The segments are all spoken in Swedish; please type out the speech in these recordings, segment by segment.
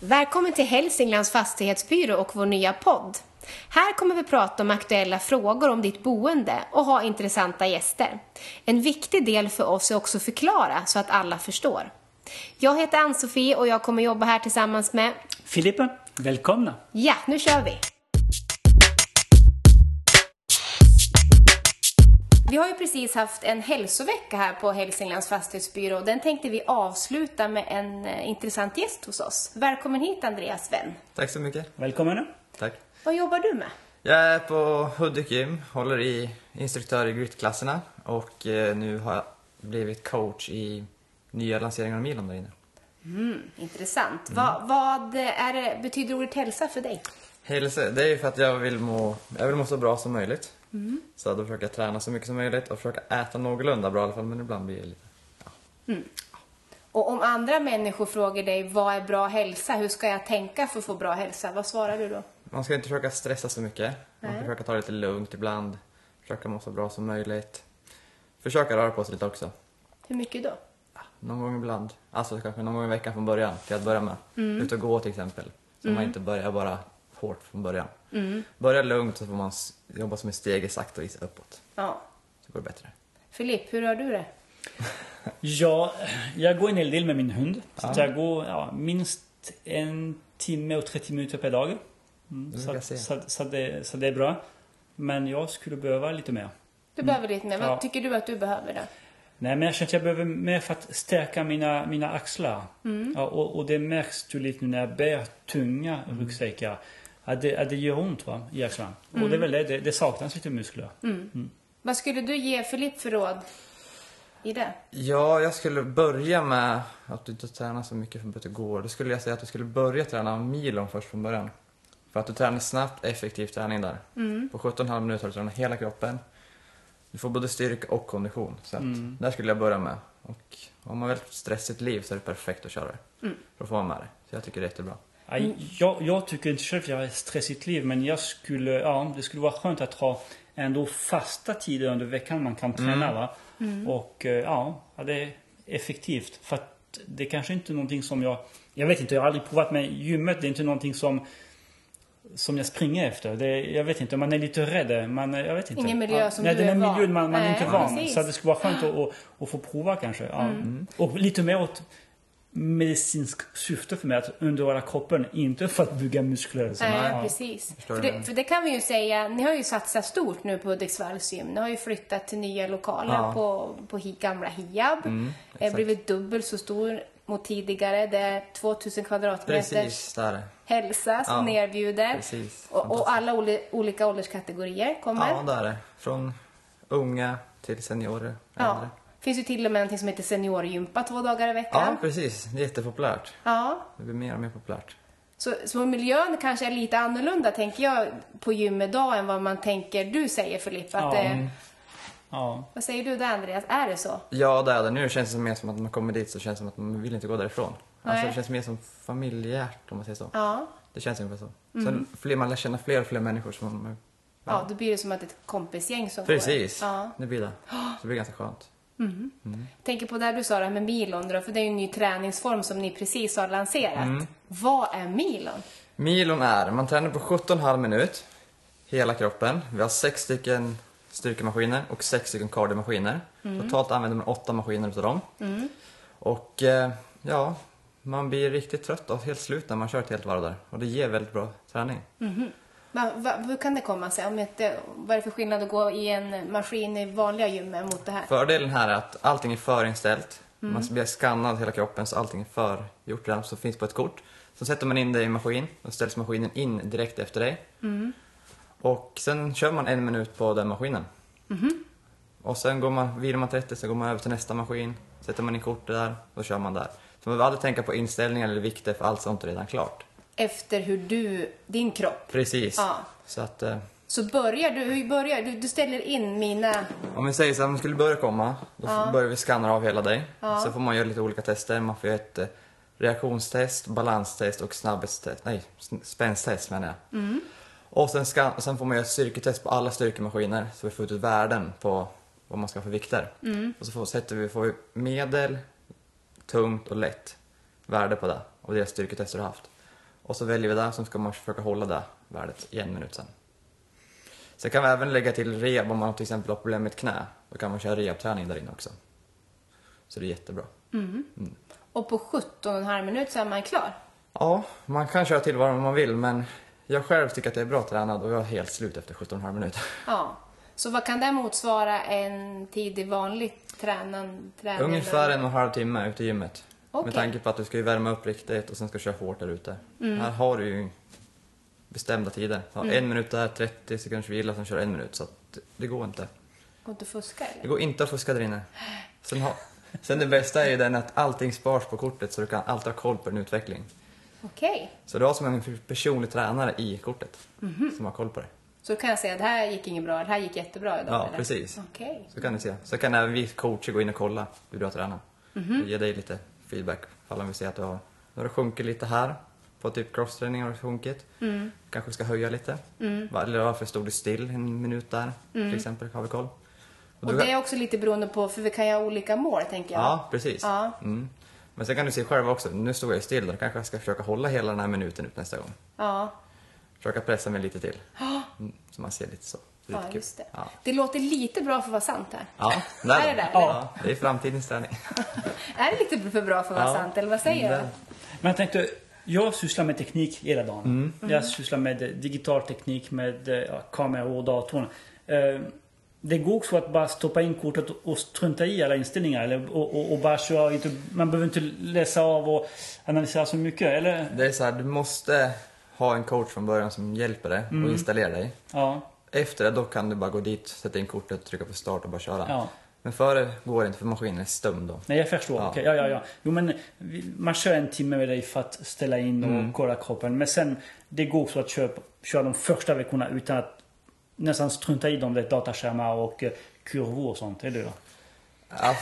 Välkommen till Hälsinglands fastighetsbyrå och vår nya podd. Här kommer vi prata om aktuella frågor om ditt boende och ha intressanta gäster. En viktig del för oss är också förklara så att alla förstår. Jag heter Ann-Sofie och jag kommer jobba här tillsammans med Filippa, välkomna! Ja, nu kör vi! Vi har ju precis haft en hälsovecka här på Hälsinglands fastighetsbyrå. Den tänkte vi avsluta med en eh, intressant gäst hos oss. Välkommen hit Andreas Sven. Tack så mycket. Välkomna! Tack. Vad jobbar du med? Jag är på Hudik Gym, håller i instruktör i grytklasserna och eh, nu har jag blivit coach i nya lanseringen av Milan där inne. Intressant. Vad, vad är det, betyder ordet hälsa för dig? Hälsa, det är ju för att jag vill må, jag vill må så bra som möjligt. Så då försöker jag träna så mycket som möjligt och försöka äta någorlunda bra i alla fall, men ibland blir det lite... Och om andra människor frågar dig vad är bra hälsa, hur ska jag tänka för att få bra hälsa? Vad svarar du då? Man ska inte försöka stressa så mycket. Man ska Nej. försöka ta det lite lugnt ibland. Försöka må så bra som möjligt. Försöka röra på sig lite också. Hur mycket då? Någon gång ibland. Alltså kanske någon gång i veckan från början till att börja med. Ut och gå till exempel. Så man inte börjar bara hårt från början. Börja lugnt så får man s- jobba som ett steg i sakta och isa uppåt. Ja. Så går det bättre. Filip, hur har du det? Ja, jag går en hel del med min hund. Så att jag går ja, minst en timme och 30 minuter per dag. Mm, Det så, brukar att- jag se. så, att- så, att det, så det är bra. Men jag skulle behöva lite mer. Du behöver lite mer. Vad Ja. tycker du att du behöver då? Nej, men jag känner att jag behöver mer för att stärka mina, mina axlar. Ja, och, och det märks tydligt nu när jag bär tunga Mm. ryggsäckar. Att det, att det gör ont va, i axlarna. Och det är väl det, det, det saknas lite muskler. Vad skulle du ge Filip för råd i det? Ja, jag skulle börja med att du inte tränar så mycket för att det går. Då skulle jag säga att du skulle börja träna milon först från början. För att du tränar snabbt, effektiv träning där. Mm. På 17,5 minuter har du tränat hela kroppen. Du får både styrka och kondition. Så att där skulle jag börja med. Och om man vill ett stressigt liv så är det perfekt att köra det. Mm. För att få med det. Så jag tycker det är jättebra. Ja, Jag, jag tycker inte själv att jag har ett stressigt liv men jag skulle, ja, det skulle vara skönt att ha ändå fasta tider under veckan man kan träna va. Mm. Och eh, ja, ja, det är effektivt. För att det kanske inte är någonting som jag, jag vet inte, jag har aldrig provat men gymmet det är inte någonting som som jag springer efter. Det, jag vet inte, man är lite rädd. Man, eh, jag vet inte. Ingen miljö som Nej, du den här är van. miljön man, man är Nej, inte van. precis. Mm. Så det skulle vara skönt att, att, att få prova kanske. Ja. Och lite mer åt medicinskt syfte för mig att underhålla kroppen, inte för att bygga muskler. Så, Nej, ja. precis. förstår För det. det, för det kan vi ju säga, ni har ju satsat stort nu på Hudiksvalls gym. Ni har ju flyttat till nya lokaler Ja. på, på hi, gamla Hiab. Mm, exakt. blivit dubbelt så stor mot tidigare. Det är 2000 kvadratmeter Precis, där. hälsa som Ja, ni erbjuder. precis. Och, och alla oli, olika ålderskategorier kommer. Ja, där är det. Från unga till seniorer, Ja. äldre. finns ju till och med någonting som heter seniorgympa två dagar i Ja, veckan. precis. Det är Jättepopulärt. ja. Det blir mer och mer populärt. Så, så miljön kanske är lite annorlunda, tänker jag, på gym idag än vad man tänker du säger, Filippa. Att, Ja. Mm. eh, Ja. vad säger du där, Andreas? Är det så? Ja, det är det. Nu känns det mer som att man kommer dit så känns det som att man vill inte gå därifrån. Nej. Alltså det känns mer som familjärt om man säger så. Ja. Mm. Det känns ungefär så. Sen fler, man lär känna fler och fler människor som man... Ja, då blir det som att ett kompisgäng som Precis, går. Ja. det blir det. Så det blir ganska skönt. Tänker på det du sa det här med Milon då, för det är ju en ny träningsform som ni precis har lanserat. Vad är Milon? Milon är, man tränar på 17,5 minut, hela kroppen. Vi har sex stycken styrkemaskiner och sex stycken kardiomaskiner. Mm. Totalt använder man åtta maskiner utav dem. Och eh, ja, man blir riktigt trött och helt slut när man kör ett helt varv där. Och det ger väldigt bra träning. Va, va, hur kan det komma sig? Om inte, vad är det för skillnad att gå i en maskin i vanliga gymmen mot det här? Fördelen här är att allting är förinställt. Man blir skannad hela kroppen så allting är förgjort redan, så finns på ett kort. Sen sätter man in det i en maskin och ställs maskinen in direkt efter dig. Och sen kör man en minut på den maskinen. Och sen går man, vilar man 30, sen går man över till nästa maskin. Sätter man in kortet där, då kör man där. Så man behöver aldrig tänka på inställningar eller vikter för allt sånt är redan klart. Efter hur du, din kropp. Precis. Ja. Så att... Eh, Så börjar du, hur börjar du? Du ställer in mina Om vi säger så här, om du skulle börja komma, då börjar vi skanna av hela dig. Så får man göra lite olika tester. Man får göra ett eh, reaktionstest, balanstest och snabbhetstest. Nej, sn- spänsttest menar jag. Och sen, skan- och sen får man göra ett styrketest på alla styrkemaskiner så vi får ut ett värden på vad man ska ha för vikter. Och så får, sätter vi, får vi medel, tungt och lätt värde på det och det styrketester du har haft. Och så väljer vi det, så ska man försöka hålla det värdet i en minut sen. Sen kan vi även lägga till rehab om man till exempel har problem med ett knä. Då kan man köra rehabträning där inne också. Så det är jättebra. Och på 17,5 minut så är man klar. Ja, man kan köra till vad man vill men jag själv tycker att jag är bra tränad och jag är helt slut efter 17,5 minuter. Ja. Så vad kan det motsvara en tid i vanligt tränan, tränande? Ungefär en och en halv timme ute i gymmet. Okej. Med tanke på att du ska ju värma upp riktigt och sen ska du köra hårt där ute. Mm. Här har du ju bestämda tider. Ja, En minut där, 30 sekunders vila, sen kör du en minut. Så att det går inte. Går inte att fuska eller? Det går inte att fuska där inne. Sen, ha, sen det bästa är ju den att allting spars på kortet så du kan alltid ha koll på din utveckling. Okej. Så du har som en personlig tränare i kortet Mhm. som har koll på det. Så då kan jag säga att det här gick inget bra, det här gick jättebra idag. Ja, eller? precis. Okej. Så kan ni se. Så kan även vi coacher gå in och kolla hur du har tränat. Mhm. Och Ge dig lite feedback ifall vi ser att du har, nu har du sjunkit lite här. På typ crosstraining har du sjunkit. Mm. Kanske ska höja lite. Va- Eller varför stod du still en minut där till exempel har vi koll. Och Mm. Och du- det är också lite beroende på, för vi kan ju ha olika mål tänker jag. Ja, precis. Ja. Mm. Men sen kan du se själv också, nu står jag ju still då kanske jag ska försöka hålla hela den här minuten ut nästa gång. Ja, Försöka pressa mig lite till. Mm. Så man ser lite så. Det är ja lite kul. just det. Ja. Det låter lite bra för att vara sant här. Ja, Är det det. där? Ja, det är framtidens träning. Är det lite för bra för att vara Ja. sant eller vad säger Mm, du? Men jag tänkte, jag sysslar med teknik hela dagen. Jag sysslar med eh, digital teknik, med eh, ja, kameror och datorn. Eh, Det går också att bara stoppa in kortet och strunta i alla inställningar. Eller, och, och, och bara köra, inte, man behöver inte läsa av och analysera så mycket. Eller? Det är så här, du måste ha en coach från början som hjälper dig och installerar dig. Ja. Efter det då kan du bara gå dit, sätta in kortet, trycka på start och bara köra. Ja. Men före går det inte för maskinen är stum då. Nej, jag förstår. Ja. Okej, ja, ja, ja. Jo, men vi- man kör en timme med dig för att ställa in och Mm. kolla kroppen. Men sen, det går också att köra, köra de första veckorna utan att nästan strunta i de där dataskärmar och eh, kurvor och sånt. Eller hur? Ja,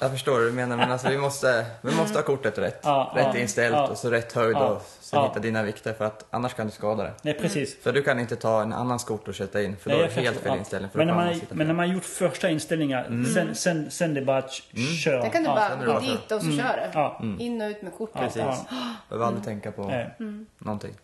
jag förstår vad du menar men alltså vi måste, vi måste ha kortet rätt. Ja, rätt ja, inställt ja. och så rätt höjd Ja, och så ja. hitta dina vikter för att annars kan du skada det. Nej, precis. För du kan inte ta en annans kort och sätta in för då Nej, är jag det helt förstår. fel Ja. inställning. För men, då när kan man, sitta Mm. men fel. när man gjort första inställningar, sen, sen, sen det är bara att Mm. köra. Då kan du Ja. Mm. bara sen är det gå bra. dit och så kör du. Ja. In och ut med kortet. Ja, Precis. Behöver aldrig tänka på Nej. Mm. någonting.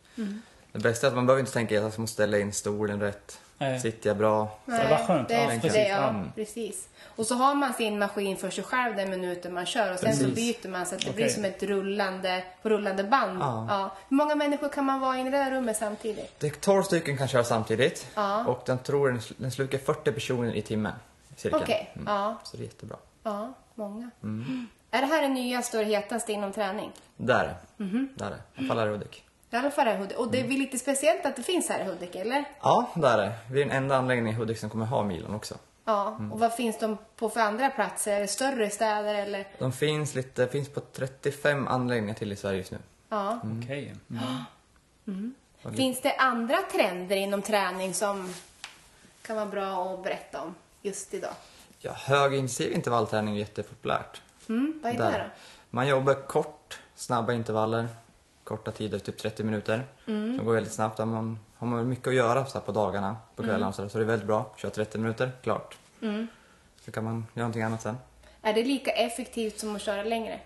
Det bästa är att man behöver inte tänka att jag måste ställa in stolen rätt. Nej. Sitter jag bra? Det var skönt. Det, Ja, är- precis. det, ja, Ja. precis. Och så har man sin maskin för sig själv den minuten man kör och sen så Precis. byter man så att det Okej. blir som ett rullande, på rullande band. Ja. Hur många människor kan man vara i det där rummet samtidigt? Det är 12 stycken kan köra samtidigt Ja. och den tror den, den slukar 40 personer i timmen. Cirka. Okej, ja. Så det är jättebra. Ja, många. Mm. Är det här det nyaste och det hetaste inom träning? Där är det. Mhm. Där är det. Jag Fallar Rudik. I alla fall här i Hudik. Och det Mm. är väl lite speciellt att det finns här i Hudik, eller? Ja, där är det. Vi är den enda anläggningen i Hudik som kommer ha Milan också. Ja. Mm. Och vad finns de på för andra platser? Är det Större städer eller? De finns, lite, finns på 35 anläggningar till i Sverige just nu. Ja. Mm. Okej. Finns det andra trender inom träning som kan vara bra att berätta om just idag? Ja, högintensiv intervallträning är jättepopulärt. Mm, vad är det Där. då? Man jobbar kort, snabba intervaller, korta tider, typ 30 minuter. Mm. Som går väldigt snabbt. Där man, har man mycket att göra så här på dagarna, på Mm. kvällarna och så, där, så det är väldigt bra. Kör 30 minuter, klart. Så kan man göra någonting annat sen. Är det lika effektivt som att köra längre?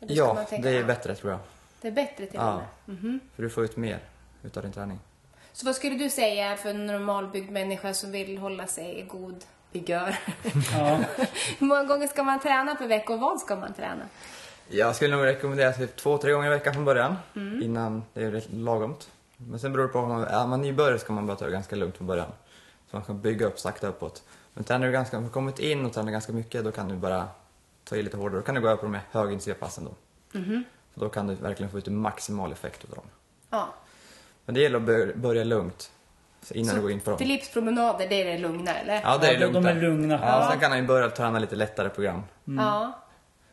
Eller ska Ja, man tänka- det är bättre tror jag. Det är bättre Mhm. till och Ja. med. För du får ut mer utav din träning. Så vad skulle du säga för en normalbyggd människa som vill hålla sig i god vigör? Ja. Hur många gånger ska man träna per vecka och vad ska man träna? Jag skulle nog rekommendera typ två, tre gånger i veckan från början. Mm. Innan det är rätt lagomt. Men sen beror det på om man är man nybörjare ska man bara ta det ganska lugnt från början. Så man kan bygga upp sakta uppåt. Men tränar du ganska, har kommit in och tränar ganska mycket då kan du bara ta i lite hårdare. Då kan du gå över på de här högintensiva passen då. Mm-hmm. För då kan du verkligen få ut maximal effekt utav dem. Ja. Men det gäller att bör- börja lugnt. Så innan du går in på dem. Philipspromenader, det är det lugna eller? Ja, det är Ja, de- lugnt de är där. lugna. Ja, sen kan han ju börja träna lite lättare program. ja.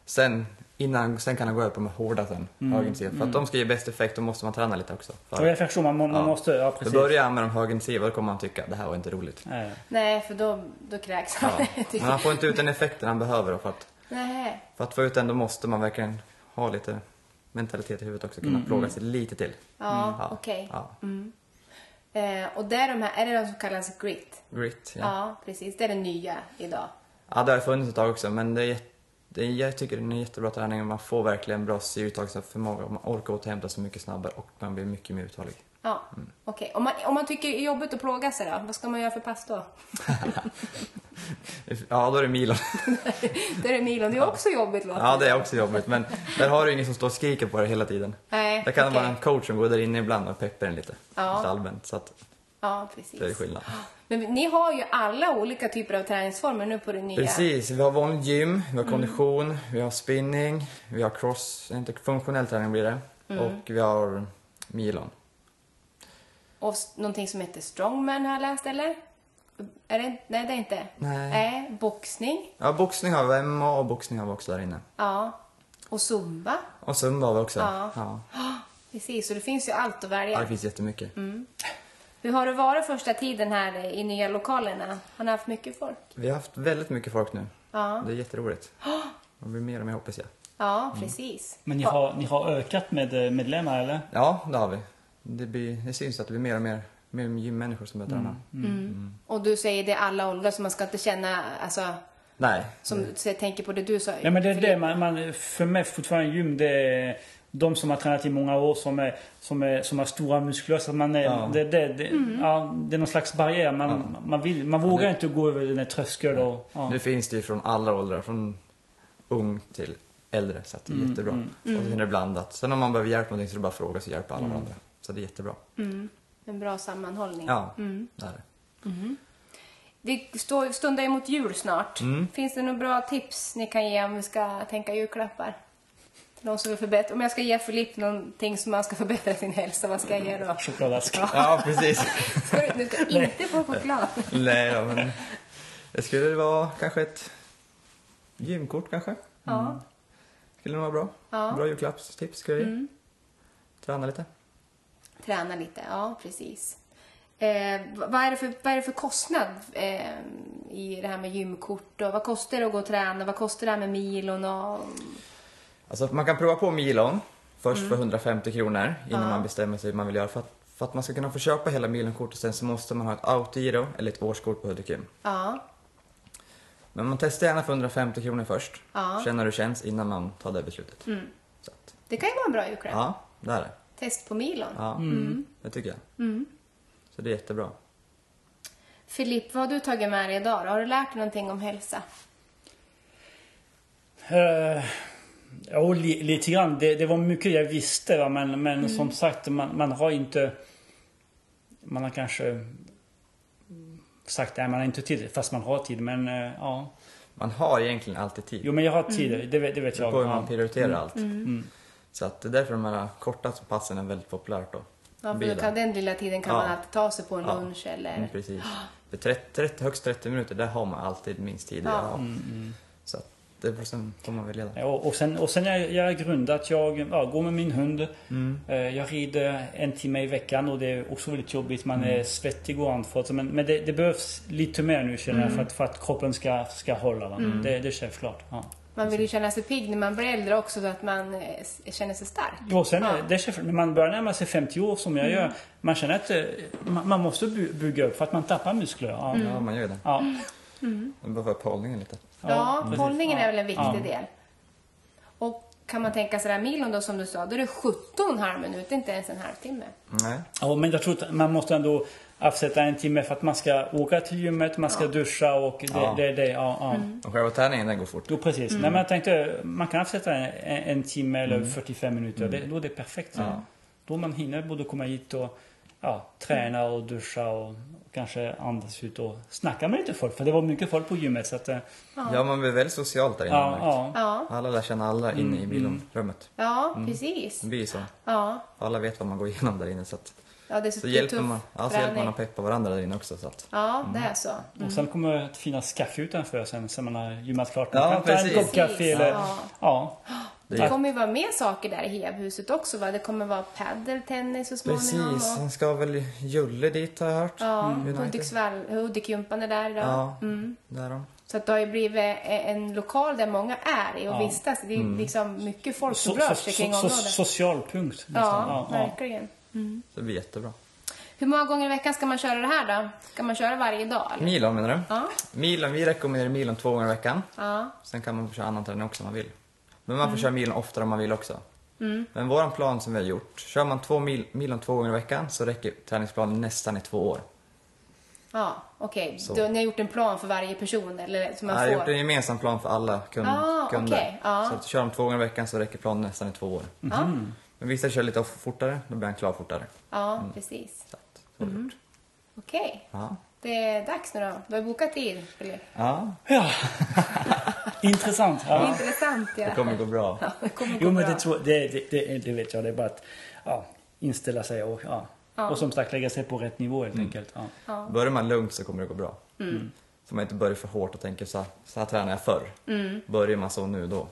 Sen, innan, sen kan han gå över på de hårda sen. Högintensiva. För att de ska ge bäst effekt då måste man träna lite också. Och jag förstår, man, må- man måste... Ja, Då precis. börjar han med de högintensiva då kommer han tycka det här var inte roligt. Ja, ja. Nej, för då, då kräks han. Ja. Men han får inte ut den effekten han behöver. då, För att, Nej. för att få ut den då måste man verkligen ha lite mentalitet i huvudet också. Kunna plåga sig lite till. Mm, Ja, okej. Mm. Ja. Eh, och det är de här, är det de som kallas grit? Grit, Ja. ja. precis. Det är det nya idag. ja. det har funnits ett tag också men det är Det, jag tycker det är en jättebra träning och man får verkligen bra syreuttagsförmåga. och Man orkar återhämta sig mycket snabbare och man blir mycket mer uthållig. Ja, okej. Om, man, om man tycker det är jobbigt att plåga sig då, vad ska man göra för pass då? Ja, då är det milon. Där är milen, det är också jobbigt låter Ja, det är också jobbigt. Men där har du ingen som står och skriker på dig hela tiden. Nej, Där kan det okej. vara en coach som går där inne ibland och peppar en lite. Ja. Lite allmänt. Så att Ja, precis. det är skillnad. Men ni har ju alla olika typer av träningsformer nu på det nya. Precis, vi har vanligt gym, vi har kondition, vi har spinning, vi har cross, inte funktionell träning blir det. Mm. Och vi har milon. Och s- någonting som heter strongman har jag läst, eller? Är det, nej, det är inte. Nej. Nej, boxning. Ja, boxning har vi, MMA och boxning har vi också där inne. Ja. Och zumba. Och zumba har vi också. Ja. Ja. Precis, så det finns ju allt att välja. Ja, det finns jättemycket. Mm. Hur har det varit första tiden här i nya lokalerna? Har ni haft mycket folk? Vi har haft väldigt mycket folk nu. Ja. Det är jätteroligt. Det blir mer och mer hoppas jag. Ja, precis. Men ni har, ni har ökat med eh, medlemmar eller? Ja, det har vi. Det, blir, det syns att det blir mer och mer, mer gymmänniskor som börjar träna. Och du säger det är alla åldrar, så man ska inte känna, alltså, Nej. som så jag tänker på det du sa. Nej men det är För- det man, man för mig fortfarande gym det är de som har tränat i många år som, är, som, är, som har stora muskler. Så att man är, Ja. det, det, det, ja, det är någon slags barriär. Man, man, vill, man vågar inte gå över den där tröskeln. Och, ja. Nu finns det ju från alla åldrar, från ung till äldre. Så att det är jättebra. Och sen är det blandat. Sen om man behöver hjälp med någonting så är det bara att fråga så hjälper alla varandra. Så det är jättebra. En bra sammanhållning. Ja, det är det. Det står, stundar ju mot jul snart. Mm. Finns det några bra tips ni kan ge om vi ska tänka julklappar? Till någon som vill förbättra. Om jag ska ge Filip någonting som man ska förbättra sin hälsa, vad ska jag ge Mm. då? Chokladask. Ja, precis. Ska du- Du ska inte få choklad. Mm. Nej, ja, men det skulle vara kanske ett gymkort kanske. Ja. Skulle nog vara bra. Ja. Bra julklappstips skulle jag ge. Träna lite. Träna lite, ja precis. Eh, v- vad, är det för, vad är det för kostnad eh, i det här med gymkort och vad kostar det att gå och träna? Vad kostar det här med milon och... Alltså man kan prova på milon först Mm. för 150 kronor innan man bestämmer sig hur man vill göra. För att, för att man ska kunna få köpa hela milonkortet sen så måste man ha ett autogiro eller ett årskort på Hudikym. Ja, Men man testar gärna för 150 kronor först. Ja. Mm. Känner hur det känns innan man tar det beslutet. Så att, det kan ju vara en bra julklapp. ja, det är det. Test på milon. Ja, Mm. det tycker jag. Mm. Så det är jättebra. Filip, vad har du tagit med dig idag då? Har du lärt dig någonting om hälsa? Eh, ja, li, lite grann. Det, det var mycket jag visste. Va? Men, men som sagt, man, man har inte... Man har kanske sagt att man har inte tid. Fast man har tid. Men eh, ja. Man har egentligen alltid tid. Jo men jag har tid. Det, vet- det vet jag. på hur Ja. Mm. man prioriterar allt. Mm. Så att det är därför de här korta passen är väldigt populärt då. Ja, för Bilen. då kan, den lilla tiden kan Ja. man alltid ta sig på en Ja. lunch Mm, eller... precis. För 30, 30, högst 30 minuter, där har man alltid minst tid. Ja. Ja. Så att det är sen får man välja. Mm, Ja, Och och sen, och sen jag, jag är grundat. Jag ja, går med min hund. Eh, Jag rider en timme i veckan och det är också väldigt jobbigt. Man är svettig och andfådd. Men, men det, det behövs lite mer nu känner jag för att, för att kroppen ska, ska hålla. Va? Det, det är självklart. Ja. Man vill ju känna sig pigg när man blir äldre också så att man eh, s- känner sig stark. Och sen, är- det är självklart, när man börjar närma sig 50 år som jag gör. Man känner att eh, man, man måste bu- bygga upp för att man tappar muskler. Ja. Ja, man gör ju det. Ja. Man behöver få upp hållningen lite. Ja, precis. hållningen är väl en viktig Ja. del. Och kan man tänka sig den här milon då som du sa, då är det 17 halv minut, inte ens en halvtimme. Nej. Ja, men jag tror att man måste ändå avsätta en timme för att man ska åka till gymmet, man ska duscha och det, Ja. Mm. det, det, ja, ja. Mm. Och själva träningen, den går fort. Jo precis. Nej, men jag tänkte, man kan avsätta en, en, en timme eller Mm. 45 minuter. Det, då är det perfekt. Då man hinner både komma hit och ja, träna och duscha och kanske andas ut och snacka med lite folk. För det var mycket folk på gymmet. Så att, eh, Ja, man blir väldigt socialt där inne. ja, märkt. ja. Mm, Ja, Alla lär känna alla inne i bilrummet. ja precis. Det blir ju så. Ja, Alla vet vad man går igenom där inne. Så, att, ja det är så så, hjälper, tuff man, ja, så träning. hjälper man Mm. att peppa varandra där inne också. Så att, Ja, det är så. Och sen kommer det att finnas kaffe utanför sen, sen man har gymmat klart. Man Ja, kan ta en precis. kopp kaffe Precis. eller... Ja. Ja. Det kommer ju vara mer saker där i Hevhuset också va? Det kommer vara padel, tennis så småningom. precis, Och, sen ska väl Julle dit har jag hört. ja, Mm. United. Hudiksvall, Hudikjumpan är där idag. Ja, där är de. Så att det har ju blivit eh, en lokal där många är i och Ja. vistas. Det är Mm. ju liksom mycket folk som So, rör so, sig kring so, so, området. social punkt. ja, nästan. verkligen. Så det blir jättebra. Hur många gånger i veckan ska man köra det här då? Ska man köra varje dag? Eller? Milon menar du? Ja. Milon, vi rekommenderar milon två gånger i veckan. Ja. Mm. Sen kan man få köra annan träning också om man vill. Men man får köra milen oftare om man vill också. Men våran plan som vi har gjort, kör man två mil, milon två gånger i veckan så räcker träningsplanen nästan i två år. Ja, okej. Så. Då- Ni har gjort en plan för varje person eller som Jag man har får? gjort en gemensam plan för alla kund, Ah, kunder. okej, ja. Så att kör de två gånger i veckan så räcker planen nästan i två år. Ja, Men vissa kör lite off- fortare, då blir han klar fortare. ja precis. Så att, så har Mhm. vi gjort. Okej. Mm. Ja. Det är dags nu då. Du har bokat tid. för det. ja, Ja. Intressant. Ja. Intressant ja. det kommer gå bra. Ja, det kommer gå Jo, men bra. det, tror, det, det, det, det vet jag. Det är bara att ja, inställa sig och, ja. Ja. och som sagt lägga sig på rätt nivå helt enkelt. Ja. Ja. Börjar man lugnt så kommer det gå bra. Mm. Så man inte börjar för hårt och tänker så här, så här tränade jag förr. Börjar man så nu då.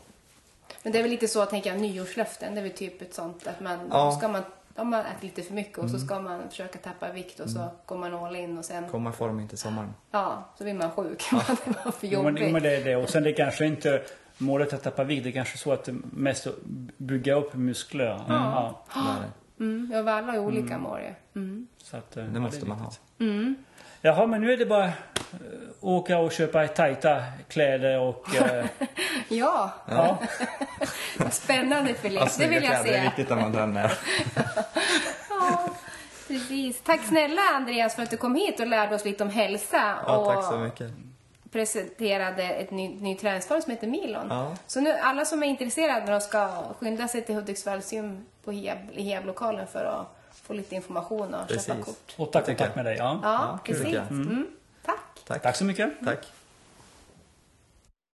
Men det är väl lite så, tänker jag, nyårslöften. Det är väl typ ett sånt att man, Ja. ska man, om man äter lite för mycket och så ska man försöka tappa vikt och så går man all in och sen, Komma i form inte i sommaren. ja, så blir man sjuk. det var för Jo, men, jo, men jobbigt. det är det. Och sen det är kanske inte målet att tappa vikt. Det är kanske så att det mest att bygga upp muskler. Ja. Ja. Nej, nej. Mm, ja, alla har olika mål ju. Mm. Så att, eh, ja, Det måste är man ha. viktigt. Jaha, men nu är det bara eh, åka och köpa tajta kläder och... eh, Ja, ja. spännande Felix. Ja, det snygga vill jag kläder, Alltså, Det är se. viktigt när man tränar. Ja, precis. Tack snälla Andreas för att du kom hit och lärde oss lite om hälsa. Ja, och tack så mycket. presenterade ett ny, ny träningsform som heter Milon. Ja. Så nu alla som är intresserade de ska skynda sig till Hudiksvalls gym på Hiab, i Hiablokalen för att få lite information och köpa Precis. kort. Och tack, tycker tack med dig. Ja. Ja, kul precis. tycker jag. Mm. Tack. Tack så mycket. Tack.